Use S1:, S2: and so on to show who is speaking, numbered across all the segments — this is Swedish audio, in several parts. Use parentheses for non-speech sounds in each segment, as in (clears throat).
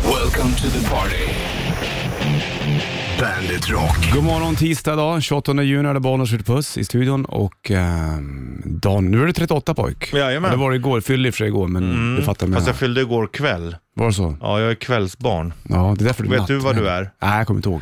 S1: Welcome to the party. Bandit Rock.
S2: God morgon tisdag idag, 28 juni är det Bollnäs ute puss i studion och ehm, Dan, nu är du 38 pojk.
S3: Jajamän. Mm.
S2: Det var du igår, fyllde i och för sig igår men du fattar med.
S3: Fast jag fyllde igår kväll.
S2: Var det så?
S3: Ja, jag är kvällsbarn.
S2: Ja, det är därför du är
S3: Vet
S2: natt.
S3: du vad du är?
S2: Nej, jag kommer inte ihåg.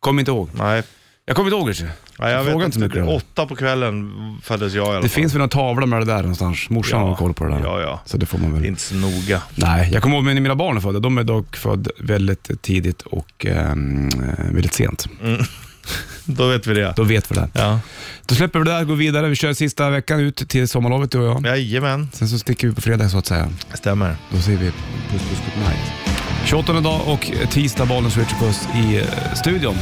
S2: Kommer inte ihåg.
S3: Nej,
S2: Jag kommer inte ihåg Richie.
S3: Nej jag
S2: Fråga
S3: vet
S2: inte så mycket om det.
S3: Åtta på kvällen föddes jag i alla
S2: Det
S3: fall.
S2: finns väl någon tavla med det där någonstans? Morsan
S3: Ja.
S2: har koll på det där.
S3: Ja, ja.
S2: Så det får man väl.
S3: Det är inte så noga.
S2: Nej, jag kommer ihåg när mina barn är födda. De är dock födda väldigt tidigt och ehm, väldigt sent.
S3: Då vet vi det.
S2: Då vet vi det.
S3: Ja.
S2: Då släpper vi det där, går vidare. Vi kör sista veckan ut till sommarlovet du och jag.
S3: Jajamän,
S2: Sen så sticker vi på fredag så att säga.
S3: stämmer.
S2: Då säger vi puss puss good night. 28 dag och tisdag bollen switch puss i eh, studion.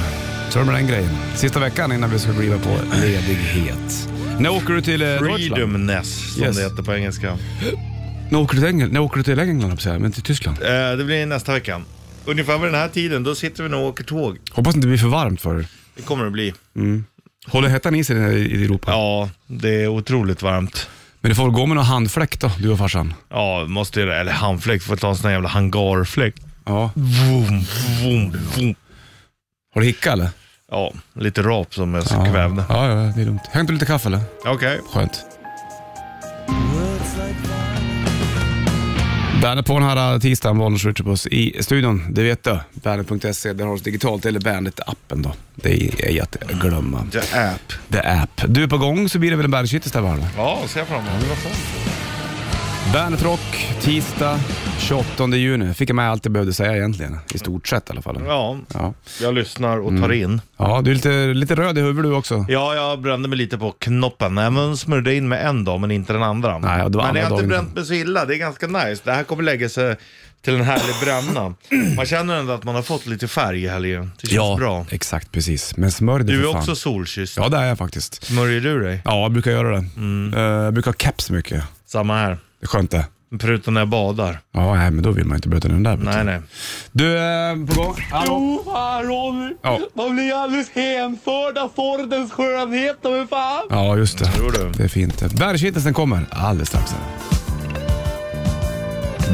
S2: Så är det med den grejen. Sista veckan innan vi ska kliva på ledighet. När åker du till eh, Deutschland?
S3: Freedomness, som
S2: Yes.
S3: det heter på engelska.
S2: När åker du till England? När åker du till England höll jag på att säga, men till Tyskland?
S3: Eh, det blir nästa vecka. Ungefär vid den här tiden, då sitter vi nog och åker tåg.
S2: Hoppas det inte blir för varmt för dig.
S3: Det kommer det bli.
S2: Håller hettan i sig i- i Europa?
S3: Ja, det är otroligt varmt.
S2: Men du får gå med någon handfläkt då, du och farsan.
S3: Ja, måste ju Eller handfläkt, får ta en sån här jävla hangarfläkt.
S2: Ja.
S3: Vroom, vroom, vroom.
S2: Har du hicka eller?
S3: Ja, lite rap som jag så kvävde.
S2: Ja, ja, det är lugnt. Hämtar du lite kaffe eller?
S3: Okej.
S2: Skönt. Bandet på den här eh, tisdagen, Bollnäs Ritchipus i studion. Det vet du. Bandet.se, där har du oss digitalt, eller Bandet-appen då. Det är ej att glömma.
S3: The app.
S2: The app. Du är på gång så blir det väl en bandet-kittis där va?
S3: Ja, ser jag fram emot.
S2: Bandet Rock, tisdag 28 juni. Fick jag med allt jag behövde säga egentligen. I stort sett i alla fall.
S3: Ja,
S2: Ja, Mm.
S3: jag lyssnar och tar in.
S2: ja du är lite, lite röd i huvudet du också.
S3: Ja, jag brände mig lite på knoppen. Även smörjde in med en dag, men inte den andra.
S2: Nej, och det var
S3: men jag
S2: andra
S3: har inte
S2: dagen.
S3: bränt mig så illa. Det är ganska nice. Det här kommer lägga sig till en härlig
S2: (clears throat)
S3: bränna. Man känner ändå att man har fått lite färg i helgen. Det känns bra.
S2: exakt precis. Men smörj dig
S3: Du
S2: för
S3: är
S2: fan.
S3: också solkysst.
S2: Ja, det är jag faktiskt.
S3: Smörjer du dig?
S2: Ja, jag brukar göra det.
S3: Mm.
S2: Eh, jag brukar ha caps mycket.
S3: Samma här.
S2: Det är skönt det.
S3: Förutom när jag badar.
S2: Ja, nej, men då vill man inte bryta den där.
S3: Nej, nej.
S2: Du, eh, på gång? Hallå?
S4: Jo, fan Ronny.
S2: Ja.
S4: Man blir alldeles hänförd av sorgens skönhet. Men fan.
S2: Ja, just det.
S3: Jo du.
S2: Det är fint. Världshittelsen kommer alldeles strax.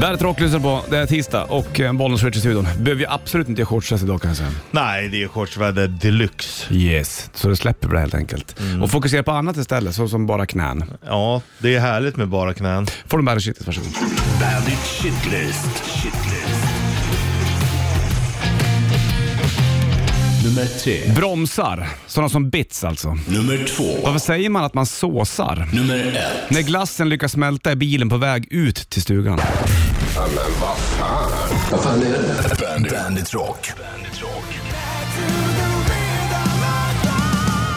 S2: Bandet Rock lyssnar på. Det är tisdag och eh, bollen switch i studion. Behöver ju absolut inte göra shortsdress idag kan jag säga.
S3: Nej, det är shortsväder deluxe.
S2: Yes. Så det släpper vi det helt enkelt.
S3: Mm.
S2: Och fokusera på annat istället, så som bara knän.
S3: Ja, det är härligt med bara knän.
S2: Får du bandet shitlist, varsågod.
S1: Bandit Shitlist. Shitlist. Nummer tre.
S2: Bromsar. Sådana som bits alltså.
S1: Nummer två.
S2: Varför säger man att man såsar?
S1: Nummer ett.
S2: När glassen lyckas smälta i bilen på väg ut till stugan.
S1: Bandit, Bandit Rock. Bandit Rock.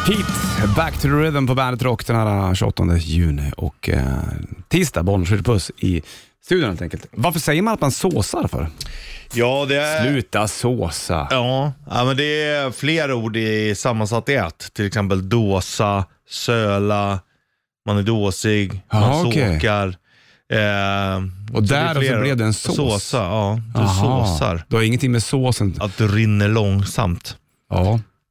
S2: Hit, Back to the Rhythm på Bandet Rock den här 28 juni och eh, tisdag, Bonniers puss i studion helt enkelt. Varför säger man att man såsar för?
S3: Ja, det är...
S2: Sluta såsa.
S3: Eh. Ja, ja men det är flera ord i sammansatt i ett. Till exempel dåsa, söla, man är dåsig,
S2: Jaha,
S3: man
S2: okej.
S3: såkar. Eh,
S2: Och
S3: det är
S2: där och så
S3: flera-
S2: blev det en sås.
S3: Såsa, ja. Du
S2: Aha,
S3: såsar.
S2: Du har ingenting med såsen
S3: Att du rinner långsamt.
S2: Ja,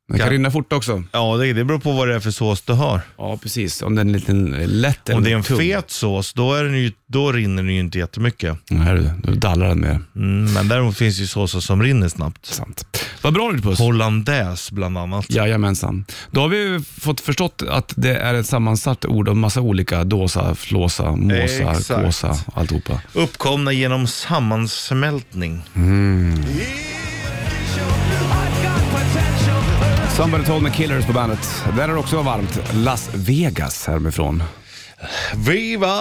S2: den kan
S3: Kan-
S2: rinna fort också.
S3: Ja, det, det beror på vad det är för sås du har.
S2: Ja, precis. Om den är lite lätt eller
S3: Om det är en
S2: tung.
S3: fet sås, då, är den ju, då rinner den ju inte jättemycket.
S2: Nej, du, då dallar den mer.
S3: Mm, men däremot finns det ju såser som rinner snabbt.
S2: Sant. Vad bra du puss.
S3: Hollandaise bland annat.
S2: Jajamensan. Då har vi ju fått förstått att det är ett sammansatt ord av massa olika. Dåsa, flåsa, måsa,
S3: Exakt.
S2: kåsa, alltihopa.
S3: Uppkomna genom sammansmältning.
S2: Somebody told me killers på bandet. Där är det också varmt. Las Vegas härifrån.
S3: Viva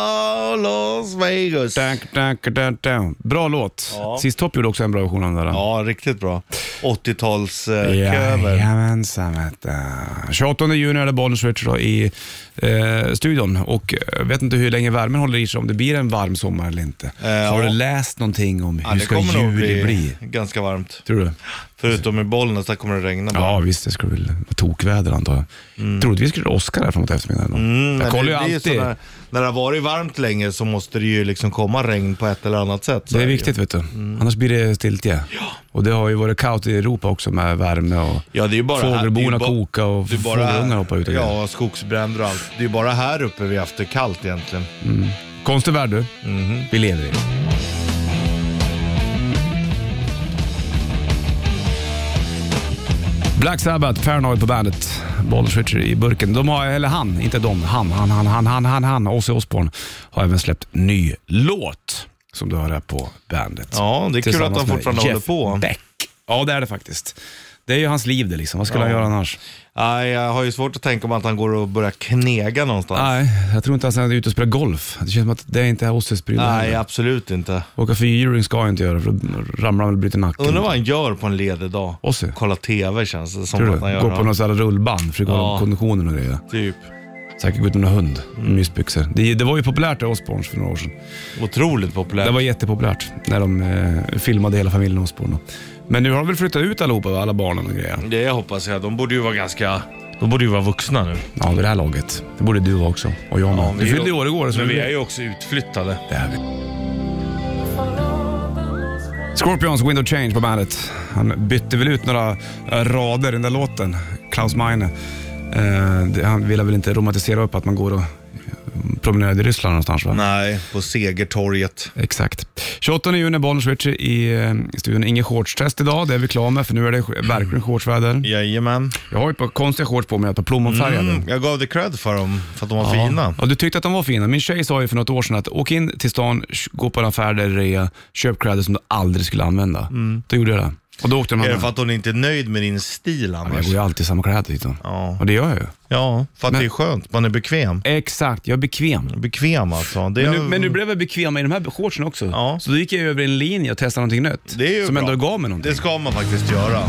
S3: Las Vegas!
S2: Tack, tack, tack, tack. Bra låt.
S3: Ja.
S2: Sist Topp gjorde också en bra version av den där.
S3: Ja, riktigt bra. 80-talsköver.
S2: Jajamensan vet du. 28 juni är det Bonniers Ritch då i eh, studion och jag vet inte hur länge värmen håller i sig, om det blir en varm sommar eller inte. Har du
S3: Eh, ja.
S2: läst någonting om hur ska juli bli?
S3: ganska varmt.
S2: Tror du?
S3: Förutom i Bollnäs, där kommer det regna bara.
S2: Ja visst, det skulle väl vara tokväder antar jag. Troligtvis skulle det åska där framåt eftermiddagen.
S3: Mm,
S2: jag
S3: men
S2: kollar ju
S3: det blir ju
S2: alltid.
S3: sådär- när det har varit varmt länge så måste det ju liksom komma regn på ett eller annat sätt. så
S2: Det är
S3: ju.
S2: viktigt vet du.
S3: Mm.
S2: Annars blir det stiltje. Och det har ju varit kaos i Europa också med värme och
S3: Ja, det är ju bara det är ju
S2: fågelborna
S3: ba-
S2: koka och
S3: det är bara-
S2: fågelungar hoppar ut. Och grejer.
S3: Ja, skogsbränder och allt. Det är ju bara här uppe vi har haft det kallt egentligen. Mhm.
S2: Konstig värld du. Vi lever i. Black Sabbath, Paranoid på bandet. Bollers Richard i burken. De har, eller han, inte de, han, han, han, han, han, han, han. Ozzy Osbourne har även släppt ny låt som du hör här på bandet.
S3: Ja, det är kul
S2: Tillsammans
S3: att han
S2: med
S3: fortfarande
S2: Jeff
S3: håller på.
S2: Beck. Ja, det är det faktiskt. Det är ju hans liv det liksom. Vad skulle han göra annars?
S3: Nej, jag har ju svårt att tänka mig att han går och börjar knega någonstans. Nej,
S2: Nej, jag tror inte ens han är ute och spelar golf. Det känns som att det är inte är Ozzys pryl. heller.
S3: absolut inte.
S2: Åka fyrhjuling ska jag inte göra för då ramlar han och bryter nacken.
S3: Undrar vad han gör på en ledig dag.
S2: Ozzy?
S3: Kolla TV känns det som
S2: Tror
S3: att han
S2: du?
S3: gör.
S2: Gå på någon sån här rullband för att kolla
S3: Ja. Mm.
S2: upp konditionen och grejer.
S3: Typ.
S2: Säkert gå ut med någon hund, mysbyxor. Det, det var ju populärt i Osbournes för några år sedan.
S3: Otroligt populär.
S2: Det var jättepopulärt när de eh, filmade hela familjen Osbourne. Men nu har de väl flyttat ut allihopa, va? alla barnen och grejer.
S3: Det hoppas jag. De borde ju vara ganska... De borde ju vara vuxna nu.
S2: Ja, vid det här laget. Det borde du vara också. Och jag med.
S3: Ja, vi
S2: du
S3: är
S2: fyllde ju
S3: ju-
S2: år igår. Så
S3: Men vi
S2: det-
S3: är ju också utflyttade.
S2: Det är vi. Scorpions Window Change på bandet. Han bytte väl ut några eh, rader i den där låten, Klaus Meine. Eh, det, han ville väl inte romantisera upp att man går och eh, promenerar i Ryssland någonstans va?
S3: Nej, på Segertorget.
S2: Exakt. 28 juni, Bollnäs Ritchie i, eh, i studion. Ingen shortstest idag, det är vi klara med för nu är det sk- verkligen shortsväder.
S3: Jajamän.
S2: Jag har ju ett par konstiga shorts på mig, ett par plommonfärgade.
S3: Mm, jag gav dig cred för dem, för att de var fina.
S2: Ja, du tyckte att de var fina. Min tjej sa ju för något år sedan att åk in till stan, sh- gå på en affär där det är rea, köp kläder som du aldrig skulle använda. Då gjorde jag det. Och då åkte de
S3: Mm. Är det
S2: andra.
S3: för att hon inte är nöjd med din
S2: Men
S3: stil
S2: Jag
S3: annars?
S2: går ju alltid i samma kläder dit. då.
S3: Ja.
S2: Och det gör jag ju.
S3: Ja, för att
S2: Men-
S3: det är skönt. Man är bekväm.
S2: Exakt, jag är bekväm.
S3: Bekväm alltså. Det är,
S2: Men nu, men nu blev jag bekväm i de här shortsen också.
S3: Ja.
S2: Så då gick jag över i en linje och testade någonting nytt.
S3: det är ju
S2: som
S3: bra.
S2: ändå gav mig någonting.
S3: Det ska man faktiskt göra.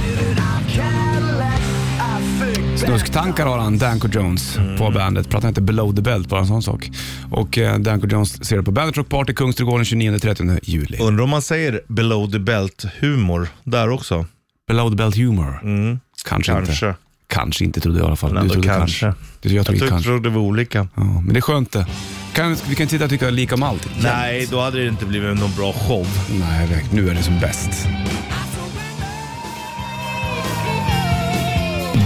S2: Snusktankar har han, Danko Jones,
S3: Mm.
S2: på bandet. Pratar inte below the belt, bara en sån sak. Och eh, Danko Jones ser du på Bandet Rock Party, Kungsträdgården 29-30 juli.
S3: Undrar om man säger below the belt humor där också.
S2: Below the belt humor. Kanske, inte.
S3: Mm. Kanske.
S2: Kanske inte trodde jag i alla fall.
S3: Men ändå
S2: trodde
S3: kanske.
S2: Du, jag
S3: Jag
S2: trodde
S3: tyckte
S2: kanske. Mm.
S3: det var olika.
S2: Ja, men det är skönt det. Kan, vi kan inte sitta och tycka lika om allt.
S3: Nej, då hade det inte blivit någon bra show.
S2: Nej, det- nu är det som bäst.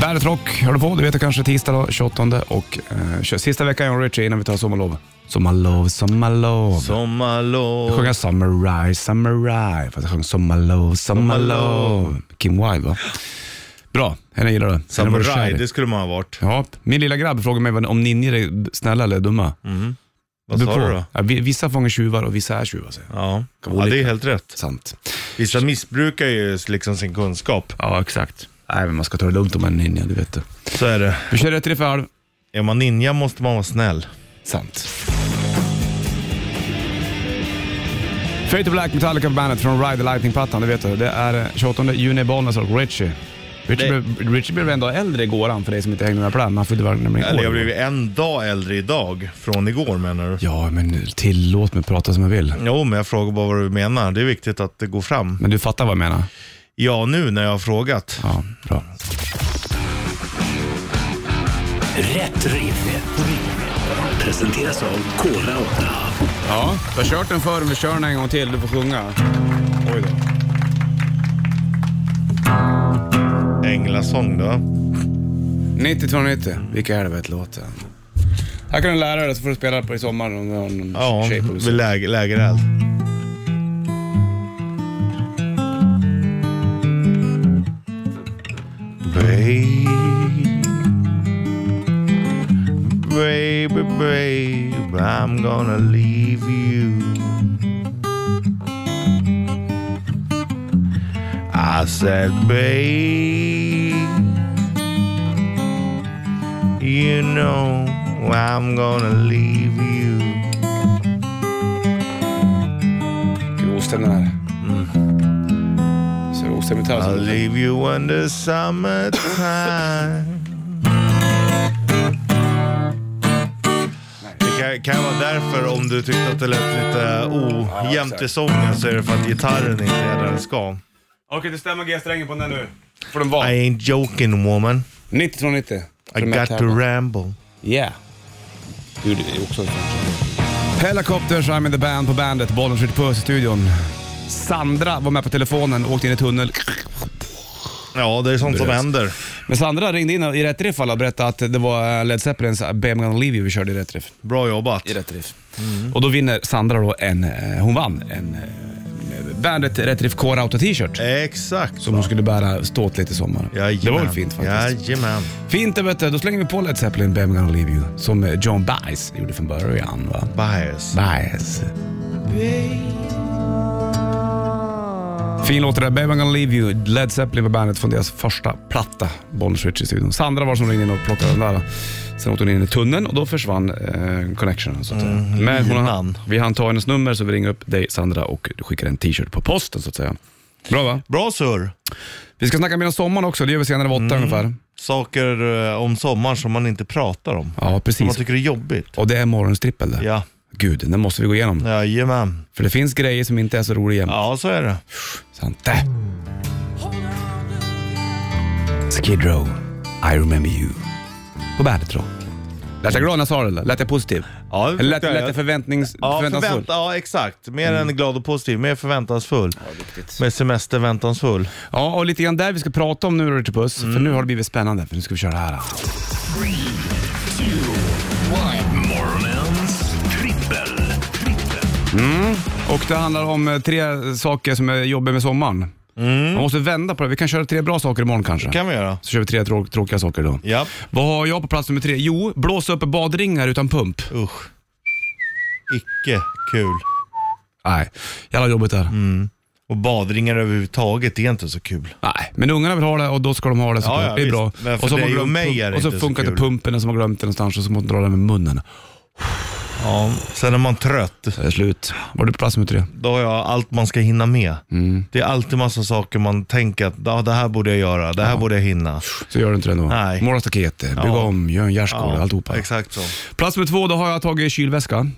S2: Bandet Rock hör du på. Du vet det kanske tisdag då, 28 och eh, kör sista veckan jag och Richie innan vi tar sommarlov. Sommarlov, sommarlov. Jag
S3: Sommarlov.
S2: sjöng Summer Rise, Summer Rise. Fast jag sjöng Sommarlov, Sommarlov. Kim Wilde va? Bra, henne gillar du. Henne var du kär i.
S3: Samurai, det skulle man ha varit.
S2: Ja, min lilla grabb frågade mig vad- om ninjor är snälla eller dumma.
S3: Mm, Vad
S2: Beror
S3: sa
S2: på.
S3: du då?
S2: Ja, vi- vissa fångar tjuvar och vissa är tjuvar säger jag.
S3: Ja.
S2: vara
S3: ja, det är
S2: olika.
S3: helt rätt.
S2: Sant.
S3: Vissa missbrukar ju liksom sin kunskap.
S2: Ja, exakt. Nej, men man ska ta det lugnt om man är ninja, det vet du.
S3: Så är det.
S2: Vi kör rätt i det för halv.
S3: Är man ninja måste man vara snäll.
S2: Sant. Fate to Black Metallica på bandet från Ride the Lightning-plattan, det vet du. Det är eh, 28 juni i Bollnäs och Richie. Richie,
S3: Det-
S2: blev, Richie blev ändå äldre igår han, för dig som inte hängde med på den. Han fyllde väl nämligen
S3: Eller
S2: år.
S3: jag blev ju en dag äldre idag från igår menar du?
S2: Ja, men tillåt mig prata som jag vill.
S3: Jo, men jag frågar bara vad du menar. Det är viktigt att det går fram.
S2: Men du fattar vad jag menar?
S3: Ja, nu när jag har frågat.
S2: Ja, bra.
S1: Rätt riff. Rätt riff. Presenteras av Kora 8.
S2: Ja, vi har kört den förr, men vi kör den en gång till. Du får sjunga. Oj då.
S3: Änglasång då.
S2: 90-290, vilka är det vet låten? Här kan du lära dig så får du spela på i sommar om du har någon
S3: Ja,
S2: tjej på
S3: vid
S2: besök.
S3: läger, lägereld. Baby, baby, baby, I'm gonna leave you. I said, babe. You know I'm gonna leave you.
S2: Gud, ostämd den här.
S3: Mm.
S2: Så är det ostämd gitarr
S3: I'll
S2: som låter.
S3: leave you when the summertime. Det kan, kan vara därför om du tyckte att det lät lite ojämnt i
S2: exakt.
S3: sången så är det för att gitarren inte är där den ska.
S2: Okej, du stämmer G-strängen på den nu. Får den vara.
S3: I ain't joking woman.
S2: 90-290.
S3: I got to ramble.
S2: Yeah. Du, det är också en sån tjej. Helicopters, I'm in the band på bandet. Bollen skjuter puss i studion. Sandra var med på telefonen, åkte in i tunnel.
S3: Ja, det är sånt som händer.
S2: Men Sandra ringde in i Rätt Riff i alla och berättade att det var Led Zeppelins Baby I'm gonna leave you vi körde i Rätt Riff.
S3: Bra jobbat.
S2: rätt riff. Och då vinner Sandra då en, eh, hon vann en eh, bandet Rätt Riff Core-Auto t-shirt.
S3: Exakt.
S2: Som de skulle bära ståtligt i sommar.
S3: Jajamän.
S2: Det var väl fint faktiskt.
S3: Jajamän.
S2: Fint det vet du. Då slänger vi på Led Zeppelin, Bam Gonna Leave You. Som eh, John Baez gjorde från början va.
S3: Bias.
S2: Baez. Fin låt det där, Baby I'm gonna leave you. Led Zeppelin var bandet från deras första platta, Bollnäs Rich i studion. Sandra var som ringde in och plockade den där. Sen åkte hon in i tunneln och då försvann eh, connectionen. Så att säga. Men hon,
S3: innan.
S2: vi hann ta hennes nummer så vi ringer upp dig Sandra och du skickar en t-shirt på posten så att säga. Bra va?
S3: Bra surr.
S2: Vi ska snacka mer om sommaren också, det gör vi senare vid åtta ungefär.
S3: Saker eh, om sommaren som man inte pratar om.
S2: Ja,
S3: Som man
S2: precis.
S3: tycker är jobbigt.
S2: Och det är morgonstrippel det.
S3: Ja.
S2: Gud, den måste vi gå igenom.
S3: Jajamän.
S2: För det finns grejer som inte är så roliga.
S3: Ja, så är det.
S2: Sant det. Skid Row, I remember you. På bandet då. Lät jag glad när jag sa det eller? Lät jag positiv?
S3: Ja, det
S2: Eller lät,
S3: tyckte jag.
S2: lät jag förväntnings...
S3: Ja,
S2: förväntansfull? Mm.
S3: förvänt, ja exakt. Mer än glad och positiv, mer förväntansfull. Mer semesterväntansfull.
S2: Ja, och lite grann där vi ska prata om nu Richard Puss, för
S3: Mm.
S2: nu har det blivit spännande, för nu ska vi köra det här.
S1: Morgonens trippel. trippel.
S2: Och det handlar om eh, tre saker som är jobbiga med sommaren. Man måste vända på det. Vi kan köra tre bra saker imorgon kanske.
S3: Mm. kan vi göra.
S2: Så kör vi tre trå- tråkiga saker idag.
S3: Ja.
S2: Vad har jag på plats nummer tre? Jo, blåsa upp badringar utan pump.
S3: Usch. Icke kul.
S2: Nej, jävla jobbigt där.
S3: Och badringar överhuvudtaget är inte så kul.
S2: Nej, men ungarna vill ha det och då ska de ha det såklart.
S3: Ja, ja,
S2: det är
S3: visst.
S2: bra.
S3: Men för
S2: och så har man
S3: dig och
S2: glömt
S3: mig
S2: pump-
S3: är det
S2: Och så
S3: inte så
S2: funkar inte
S3: kul.
S2: pumpen och så har man glömt den någonstans och så måste man dra den med munnen.
S3: Ja. Sen är man trött.
S2: Det är slut. Var du på plats nummer tre?
S3: Då har jag allt man ska hinna med.
S2: Mm.
S3: Det är alltid massa saker man tänker att ah, det här borde jag göra, det här borde jag hinna.
S2: Så gör du inte det ändå.
S3: Nej.
S2: Måla staketet, bygga
S3: Ja.
S2: om, gör en gärdsgård, alltihopa.
S3: exakt så. Mm.
S2: Plats nummer två, då har jag tagit kylväska.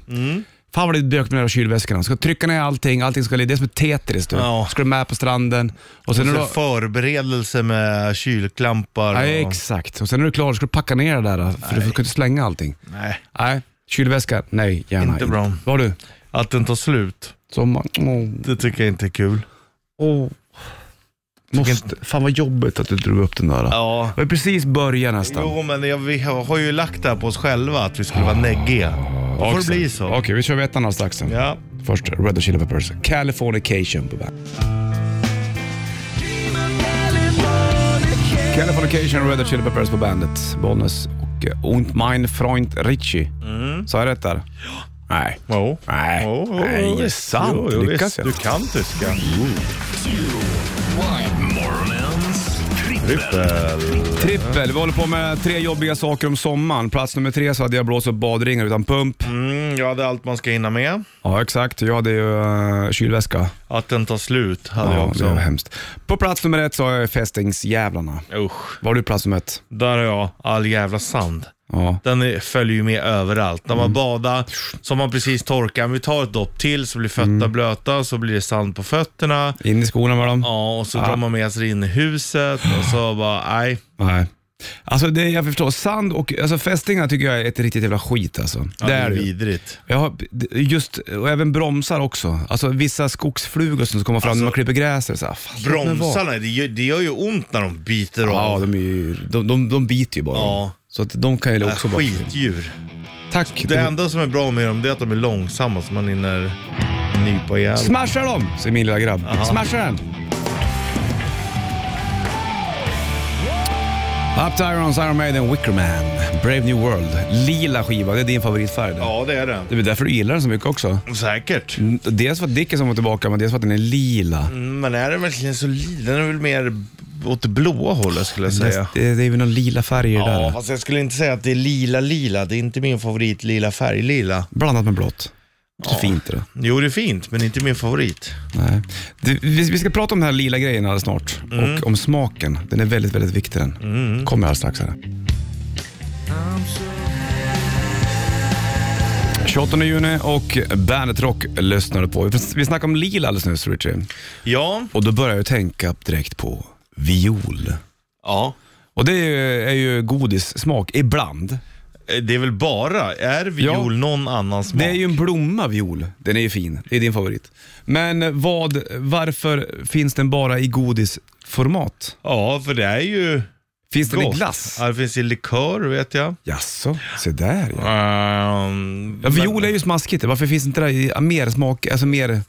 S2: Fan vad det är bök med de där kylväskorna. Ska trycka ner allting, allting ska ligga. Det är som ett Tetris du.
S3: Ja.
S2: Ska du med på stranden. Och sen
S3: Så
S2: när du...
S3: Förberedelse med kylklampar.
S2: Ja,
S3: och...
S2: exakt. Och sen när du är klar ska du packa ner det där. För du kan inte slänga allting.
S3: Nej,
S2: Nej, kylväska. Nej, gärna
S3: Inte bra.
S2: Vad har du?
S3: att den tar slut,
S2: Sommar. Åh.
S3: det tycker jag inte är kul.
S2: Oh. Måste, fan vad jobbigt att du drog upp den där. Ja.
S3: Ja.
S2: Vi har precis börjat nästan.
S3: Jo, men jag, vi har ju lagt det här på oss själva att vi skulle vara neggiga. Då får det bli så.
S2: Okej, vi kör ettan alldeles strax. sen.
S3: Ja.
S2: Först Red Hot Chili Peppers, Californication på bandet. Californication, Red Hot Chili Peppers på bandet. Bollnäs och eh, Und mein Freund Richie. Sa jag rätt där? Nej.
S3: Jo.
S2: Nej.
S3: Mm. Jo, jo,
S2: Nej,
S3: jo,
S2: det är
S3: visst.
S2: sant.
S3: Jo, jo,
S2: Lyckas
S3: visst.
S2: jag?
S3: Du kan tyska.
S1: Morgonens trippel.
S3: Trippel.
S2: Trippel, vi håller på med tre jobbiga saker om sommaren. Plats nummer tre så hade jag blåst upp badringar utan pump.
S3: Mm, jag hade allt man ska hinna med.
S2: Ja, exakt. Jag hade ju eh, kylväska.
S3: Att den tar slut hade jag
S2: Ja, det
S3: också.
S2: var hemskt. På plats nummer ett så har jag fästingsjävlarna.
S3: Usch.
S2: Var du plats nummer ett?
S3: Där har jag all jävla sand.
S2: Ja.
S3: Den är, följer ju med överallt.
S2: Mm.
S3: När man badar så har man precis torkat. Men vi tar ett dopp till så blir fötterna
S2: Mm.
S3: blöta, så blir det sand på fötterna.
S2: In i skorna var de?
S3: Ja, och så drar man med sig det in i huset och så bara, nej.
S2: Nej. Alltså det jag förstår, sand och alltså fästingar tycker jag är ett riktigt jävla skit alltså.
S3: Ja,
S2: det
S3: det
S2: är
S3: är
S2: det ju.
S3: vidrigt.
S2: jag har, just, och även bromsar också. Alltså vissa skogsflugor som kommer
S3: Alltså-
S2: fram när man klipper gräset. Så här, fan, låt mig vara.
S3: Bromsarna, det gör, det gör ju ont när de biter
S2: Ja,
S3: av.
S2: de, är ju, de, de, de biter ju bara.
S3: Ja.
S2: Så att de kan ju
S3: Äh,
S2: också bara...
S3: Skitdjur.
S2: Tack.
S3: Det
S2: De-
S3: enda som är bra med dem det är att de är långsamma så man hinner nypa ihjäl.
S2: Smasha dem, säger min lilla grabb. Smasha den. Up to Irons, Iron Maiden, Wickerman, Brave New World. Lila skiva, det är din favoritfärg. det.
S3: Ja, det är det.
S2: Det är väl därför du gillar den så mycket också.
S3: Säkert.
S2: Mm, Dels för att Dickinson var tillbaka, men dels för att den är lila.
S3: Mm, Men är den verkligen så liten? Den är väl mer åt det blåa hållet skulle jag säga.
S2: Det, det är väl någon lila färg i det
S3: Ja,
S2: där.
S3: fast jag skulle inte säga att det är lila-lila. Det är inte min favorit lila färg, lila.
S2: Blandat med blått. Så fint är det.
S3: Jo, det är fint, men inte min favorit.
S2: Nej. Du, vi, vi ska prata om den här lila grejen alldeles snart och om smaken. Den är väldigt, väldigt viktig den. Kommer alldeles strax. Här. 28 juni och Bandet Rock lyssnar du på. Vi- Vi snackade om lila alldeles nyss Richie.
S3: Ja.
S2: Och då börjar jag tänka direkt på viol.
S3: Ja.
S2: Och det är ju, är ju godissmak ibland.
S3: Eh, Det är väl bara, är viol någon annans smak?
S2: Det är ju en blomma viol. Den är ju fin. Det är din favorit. Men vad, varför finns den bara i godisformat?
S3: Ja, för det är ju
S2: Finns den i
S3: gott.
S2: glass?
S3: Ja, det finns i likör vet jag.
S2: Jaså, se där ja.
S3: Ehm,
S2: ja viol är ju smaskigt. Varför finns inte det i, mer smak, alltså mer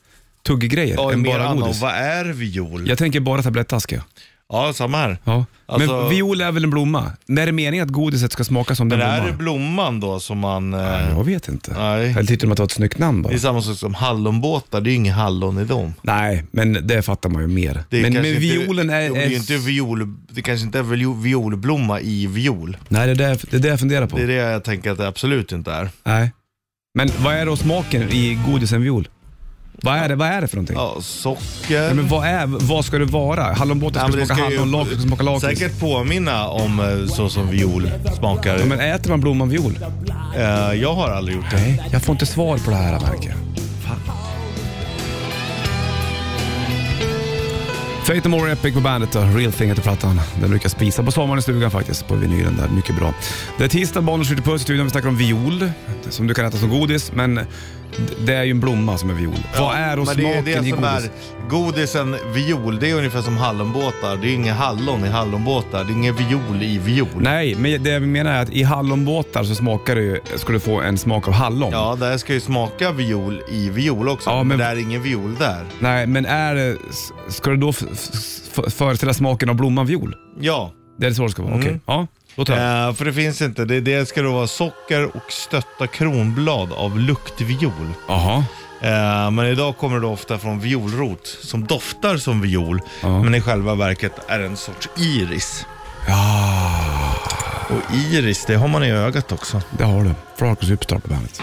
S2: tuggegrejer
S3: Ja,
S2: än
S3: mer
S2: bara
S3: annan.
S2: godis.
S3: Vad är viol?
S2: Jag tänker bara tablettaska.
S3: Ja, samma här.
S2: Ja. Men
S3: Alltså-
S2: viol är väl en blomma? När är det meningen att godiset ska smaka som den
S3: Men är det
S2: blomman?
S3: blomman då som man... eh,
S2: Jag vet inte.
S3: Nej.
S2: Jag tyckte de att det var ett snyggt namn bara.
S3: Det är samma sak som hallonbåtar, det är ju inget hallon i dem.
S2: Nej, men det fattar man ju mer.
S3: Det är
S2: Men, men
S3: kanske inte-
S2: violen är...
S3: Jo, men Det, är
S2: är
S3: ju inte viol, det kanske inte är viol- violblomma i viol.
S2: Nej, det är, det, det är det jag funderar på.
S3: Det är det jag tänker att det absolut inte är.
S2: Nej. Men vad är då smaken i godisen viol? Vad är det, vad är det för någonting?
S3: Ja, socker.
S2: Nej, men vad, är, vad ska det vara? Hallonbåten
S3: Ja, men
S2: ska
S3: det
S2: smaka
S3: ska ju-
S2: hallon, lakrits ska smaka lakrits.
S3: Säkert påminna om eh, så som viol smakar.
S2: Ja, men äter man blomman viol?
S3: Eh, jag har aldrig gjort det.
S2: Nej, jag får inte svar på det här märker jag. Fate No More Epic på bandet då. Real Thing heter plattan. Den brukar spisa på sommaren i stugan faktiskt, på vinylen där. Mycket bra. Det är tisdag, barnen skjuter puss i studion. Vi snackar om viol, som du kan äta som godis, men d- det är ju en blomma som är viol. Vad är då
S3: Men det
S2: smaken
S3: är det
S2: i
S3: som
S2: godis?
S3: är godisen viol, det är ungefär som hallonbåtar. Det är inget hallon i hallonbåtar, det är ingen viol i viol.
S2: Nej, men det jag menar är att i hallonbåtar så smakar det ju, ska du få en smak av hallon.
S3: Ja, där ska ju smaka viol i viol också,
S2: Ja,
S3: men...
S2: men-
S3: det är ingen viol där.
S2: Nej, men är det, s- ska det då f- f- f- föreställa smaken av blomman viol?
S3: Ja,
S2: Det är så det ska vara? Okej. Ja, Mm. då tar jag.
S3: eh, för det finns inte. Det, det ska då vara socker och stötta kronblad av luktviol.
S2: Jaha.
S3: Eh, men idag kommer det ofta från violrot som doftar som viol,
S2: Ja.
S3: men i själva verket är en sorts iris. Ja. Och iris, det har man i ögat också.
S2: Det har du. Flark och Superstar på bandet.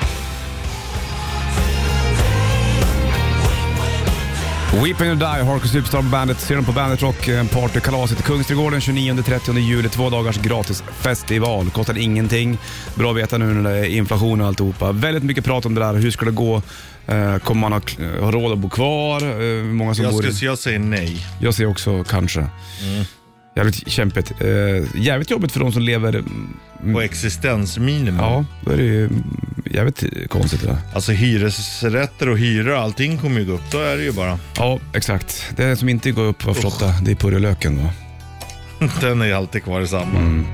S2: Weep and You Die, Harkus Superstar på bandet. Ser dem på Bandet Rock, en partykalaset i Kungsträdgården 29-30 juli. Två dagars gratis festival. Kostar ingenting. Bra att veta nu när det är inflation och alltihopa. Väldigt mycket prat om det där. Hur ska det gå? Eh, Kommer man ha, ha råd att bo kvar? Eh, hur många som
S3: Jag,
S2: bor i...
S3: skulle, så jag säger nej.
S2: Jag ser också kanske. Jävligt kämpigt. Eh, jävligt jobbigt för de som lever... mm,
S3: På existensminimum.
S2: Ja, då är det ju mm, jävligt konstigt det där.
S3: Alltså hyresrätter och hyror, allting kommer ju gå upp. Då är det ju bara. (laughs)
S2: Ja, exakt. Det som inte går upp var flotta, det är purjolöken va.
S3: Den är ju alltid kvar i samma.
S2: Mm.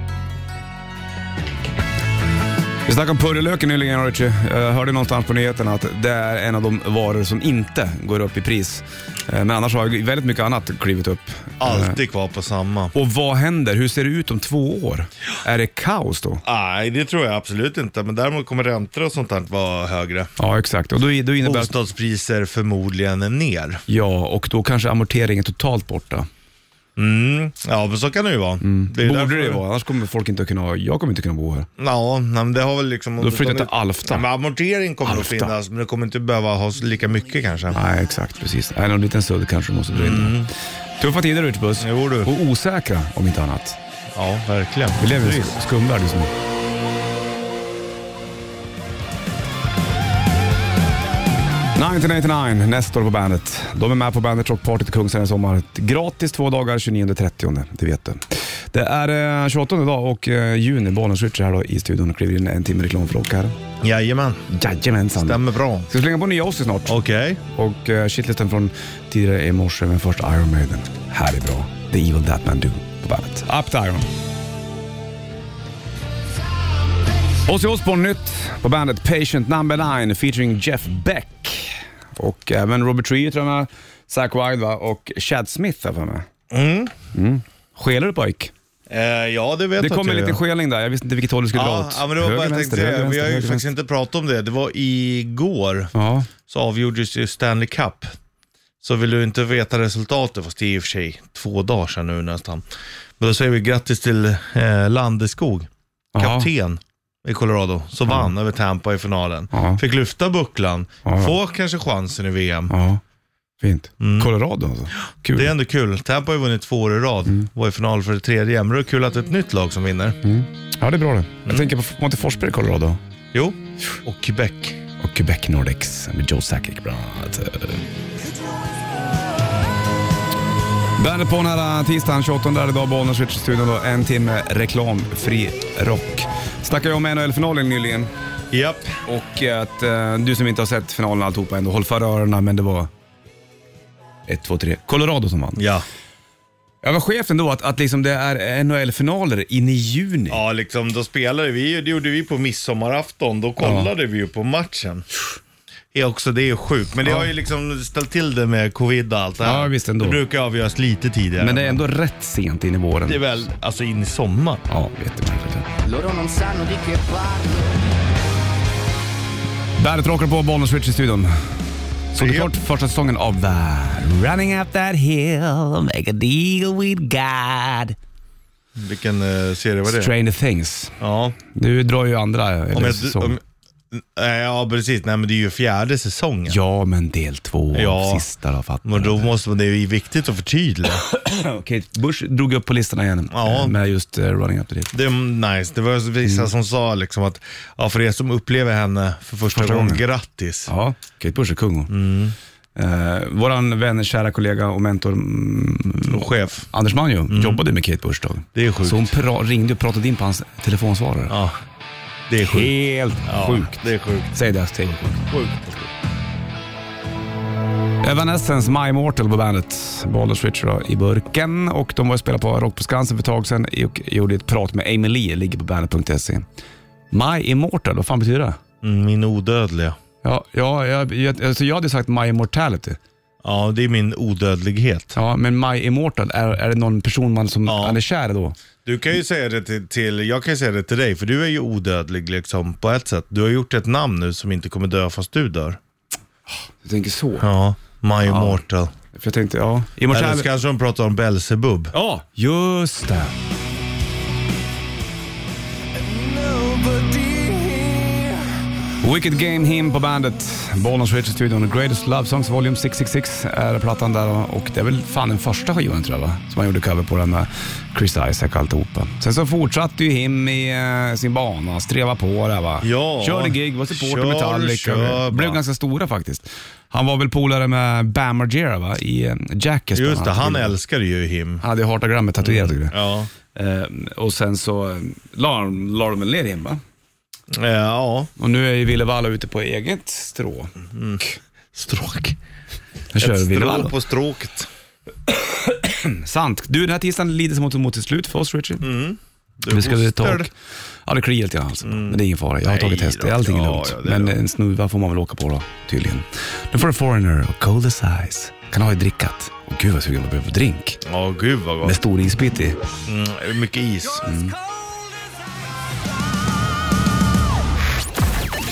S2: Vi snackade om purjolöken nyligen Richie. Jag hörde någonstans på nyheterna att det är en av de varor som inte går upp i pris. Eh, Men annars har ju väldigt mycket annat klivit upp.
S3: Alltid kvar på samma.
S2: Och vad händer? Hur ser det ut om två år? Är det kaos då?
S3: Nej, det tror jag absolut inte. Men däremot kommer räntor och sånt här vara högre.
S2: Ja, exakt. Och då, då innebär att,
S3: Bostadspriser förmodligen ner.
S2: Ja, och då kanske amorteringen är totalt borta.
S3: Mm. Ja, men så kan det ju vara. Det är ju
S2: Mm. Borde
S3: därför-
S2: det vara, annars kommer folk inte att kunna, jag kommer inte kunna bo här.
S3: Ja, nej, men det har väl liksom...
S2: Då flyttar till Alfta.
S3: Nej, men amortering kommer
S2: Alfta.
S3: att finnas, men det kommer inte behöva ha så- lika mycket kanske.
S2: Nej, exakt, precis. Nej, någon liten sudd kanske du måste dra in. Tuffa tider ute Puss.
S3: Mm. Jo, du.
S2: Och osäkra om inte annat.
S3: Ja, verkligen.
S2: Vi lever i en
S3: Precis.
S2: skumvärld just nu. "1989", Nestor på bandet. De är med på Bandet Rock Party till Kungsträdgården i sommar. Gratis två dagar, 29-30, det vet du. Det är eh, 28 idag och eh, juni, Bollnäs Ritchie här då i studion och kliver in en timme reklam för rock här.
S3: Jajamän,
S2: Jajamensan.
S3: stämmer bra.
S2: Ska slänga på nya Ozzy snart.
S3: Okej.
S2: Och eh, shitlisten från tidigare i morse, men först Iron Maiden. Här är bra. The Evil That Man Do på bandet. Up to Iron. Ozzy Osbourne nytt på bandet Patient Number 9 featuring Jeff Beck. Och även Robert Trujillo tror jag med, Zach Wilde va? och Chad Smith har jag för mig.
S3: Mm.
S2: Skelar du pojk?
S3: Eh, ja, det vet
S2: Det
S3: jag
S2: kom en
S3: att jag
S2: liten
S3: gör.
S2: skelning där, jag visste inte vilket håll du skulle dra
S3: Ja,
S2: åt.
S3: ja, men det var bara jag tänkte säga. Vi har ju faktiskt
S2: vänster.
S3: inte pratat om det. Det var igår
S2: Ja,
S3: så avgjordes ju Stanley Cup. Så vill du inte veta resultatet, fast det är i och för sig två dagar sedan nu nästan. Men då säger vi grattis till eh, Landeskog,
S2: Jaha.
S3: kapten i Colorado, som vann över Tampa i finalen.
S2: Ja.
S3: Fick lyfta bucklan,
S2: Ja.
S3: få kanske chansen i VM.
S2: ja. Fint. Colorado alltså. Kul.
S3: Mm.
S2: Mm.
S3: Det är ändå kul. Tampa har ju vunnit två år i rad, var i final för det tredje. Men det är kul att det är ett nytt lag som vinner.
S2: Ja, det är bra det. Jag tänker på var inte Forsberg i Colorado.
S3: Jo, och Quebec.
S2: Och Quebec Nordics med Joe Sakic bland annat. Bandet på den här tisdagen 28 där idag, Bollnäs studion då. En timme reklamfri rock. Snackade ju om NHL-finalen nyligen
S3: Japp.
S2: och att eh, du som inte har sett finalen och alltihopa ändå, håll för öronen men det var 1, 2, 3. Colorado som vann.
S3: Ja.
S2: Jag var chef ändå att, att liksom det är NHL-finaler in i juni.
S3: Ja, liksom då spelade vi, det gjorde vi på midsommarafton. Då kollade vi ju på matchen. är också, det är sjukt. Men det har ju liksom ställt till det med covid och allt det här.
S2: Ja, visst ändå.
S3: Det brukar avgöras lite tidigare.
S2: Men det är ändå rätt sent in i
S3: Det är
S2: våren.
S3: väl, alltså in i sommar.
S2: Ja, jättemärkligt.
S5: Loro non sanno di che parlo.
S2: Bandet rockar på Bollnäs Rich i studion. Så det är
S3: Ja.
S2: klart första säsongen av The Running Up That Hill, Make a Deal With God,
S3: Vilken eh, serie var det?
S2: Stranger Things.
S3: Ja.
S2: Du drar ju andra
S3: Om
S2: eller,
S3: jag,
S2: säsong.
S3: om, nej, ja, precis. Nej, men det är ju fjärde säsongen.
S2: Ja, men del två,
S3: Ja.
S2: sista då, fattar
S3: Men
S2: du.
S3: då måste man, det är ju viktigt
S2: (laughs)
S3: att förtydliga.
S2: Kate Bush drog upp på listorna igen
S3: Ja.
S2: eh, med just eh, Running Up That Hill.
S3: Det är nice. Det var vissa
S2: Mm.
S3: som sa liksom att, ja, för er som upplever henne för första,
S2: Första
S3: gången,
S2: gången.
S3: grattis.
S2: Ja, Kate Bush är kung hon.
S3: Mm.
S2: Eh, våran vän, kära kollega och mentor mm,
S3: Och chef.
S2: Anders Manjo jobbade med Kate Bush då.
S3: Mm. Det är sjukt.
S2: Så hon pra- ringde och pratade in på hans telefonsvarare.
S3: Ja, det är sjukt.
S2: Helt
S3: Ja,
S2: sjukt.
S3: Det är sjukt.
S2: Säg det, säg det. Evanescence, My Mortal på bandet. Baldur's Rich då, i burken. Och de var och spelade på Rock på Skansen för ett tag sedan och gjorde ett prat med Amy Lee, ligger på bandet.se. E. My Immortal, vad fan betyder det?
S3: Mm, Min odödliga.
S2: Ja, ja jag, jag, alltså jag hade sagt My Immortality.
S3: Ja, det är min odödlighet.
S2: Ja, men My Immortal, är, är det någon person man som
S3: Ja.
S2: man är kär i då?
S3: Du kan ju säga det till, till, jag kan ju säga det till dig, för du är ju odödlig liksom på ett sätt. Du har gjort ett namn nu som inte kommer dö fast du dör.
S2: Du tänker så?
S3: Ja, My Immortal.
S2: För jag tänkte, ja.
S3: Eller
S2: Immortality.
S3: så kanske de pratar om Belzebub.
S2: Ja, just det. Wicked Game Him på bandet. Bollnäs Richard Studion. The Greatest Love Songs Volume 666 är plattan där. Och det är väl fan den första skivan tror jag va? Som han gjorde cover på den med Chris Isaac och alltihopa. Sen så fortsatte ju Him i eh, sin bana, streva på där va.
S3: Ja.
S2: Körde gig, var supporter
S3: Kör,
S2: med Metallica.
S3: kör,
S2: Blev
S3: va.
S2: ganska stora faktiskt. Han var väl polare med Bam Margera va? I eh, Jackass bland
S3: Just det,
S2: annat.
S3: han älskar ju him.
S2: Han hade ju Heartagrammet tatuerat och grejer.
S3: Ja.
S2: Eh, och sen så eh, la, de- la de väl ner igen va?
S3: Eh, Ja,
S2: Och nu är ju Ville Valla ute på eget strå.
S3: Mm. stråk.
S2: Jag kör
S3: Ett
S2: Ville Valla.
S3: stråk på stråket.
S2: Sant. Du, den här tisdagen lider sig mot, mot sitt slut för oss Richie.
S3: Mm. Du
S2: Vi ska väl ta
S3: hostar.
S2: och... Ja, det kliar lite i halsen. Men det är ingen fara. Jag har
S3: Mm. Nej
S2: tagit test.
S3: då.
S2: Allting är
S3: Ja,
S2: lugnt.
S3: ja, det är
S2: Men
S3: lugnt.
S2: en snuva får man väl åka på då, tydligen. Nu får du Foreigner och Coldest Eyes. Kan ha ju drickat. Och gud vad sugen jag blir på drink.
S3: Ja, gud vad
S2: Med
S3: gott.
S2: stor isbit i.
S3: Mm, mycket is.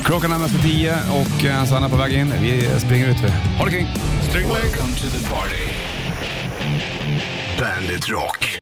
S2: Klockan närmar sig tio och eh, Sanna på väg in. Vi springer ut. vi. Ha det kring.
S1: Welcome to the party. Bandit Rock.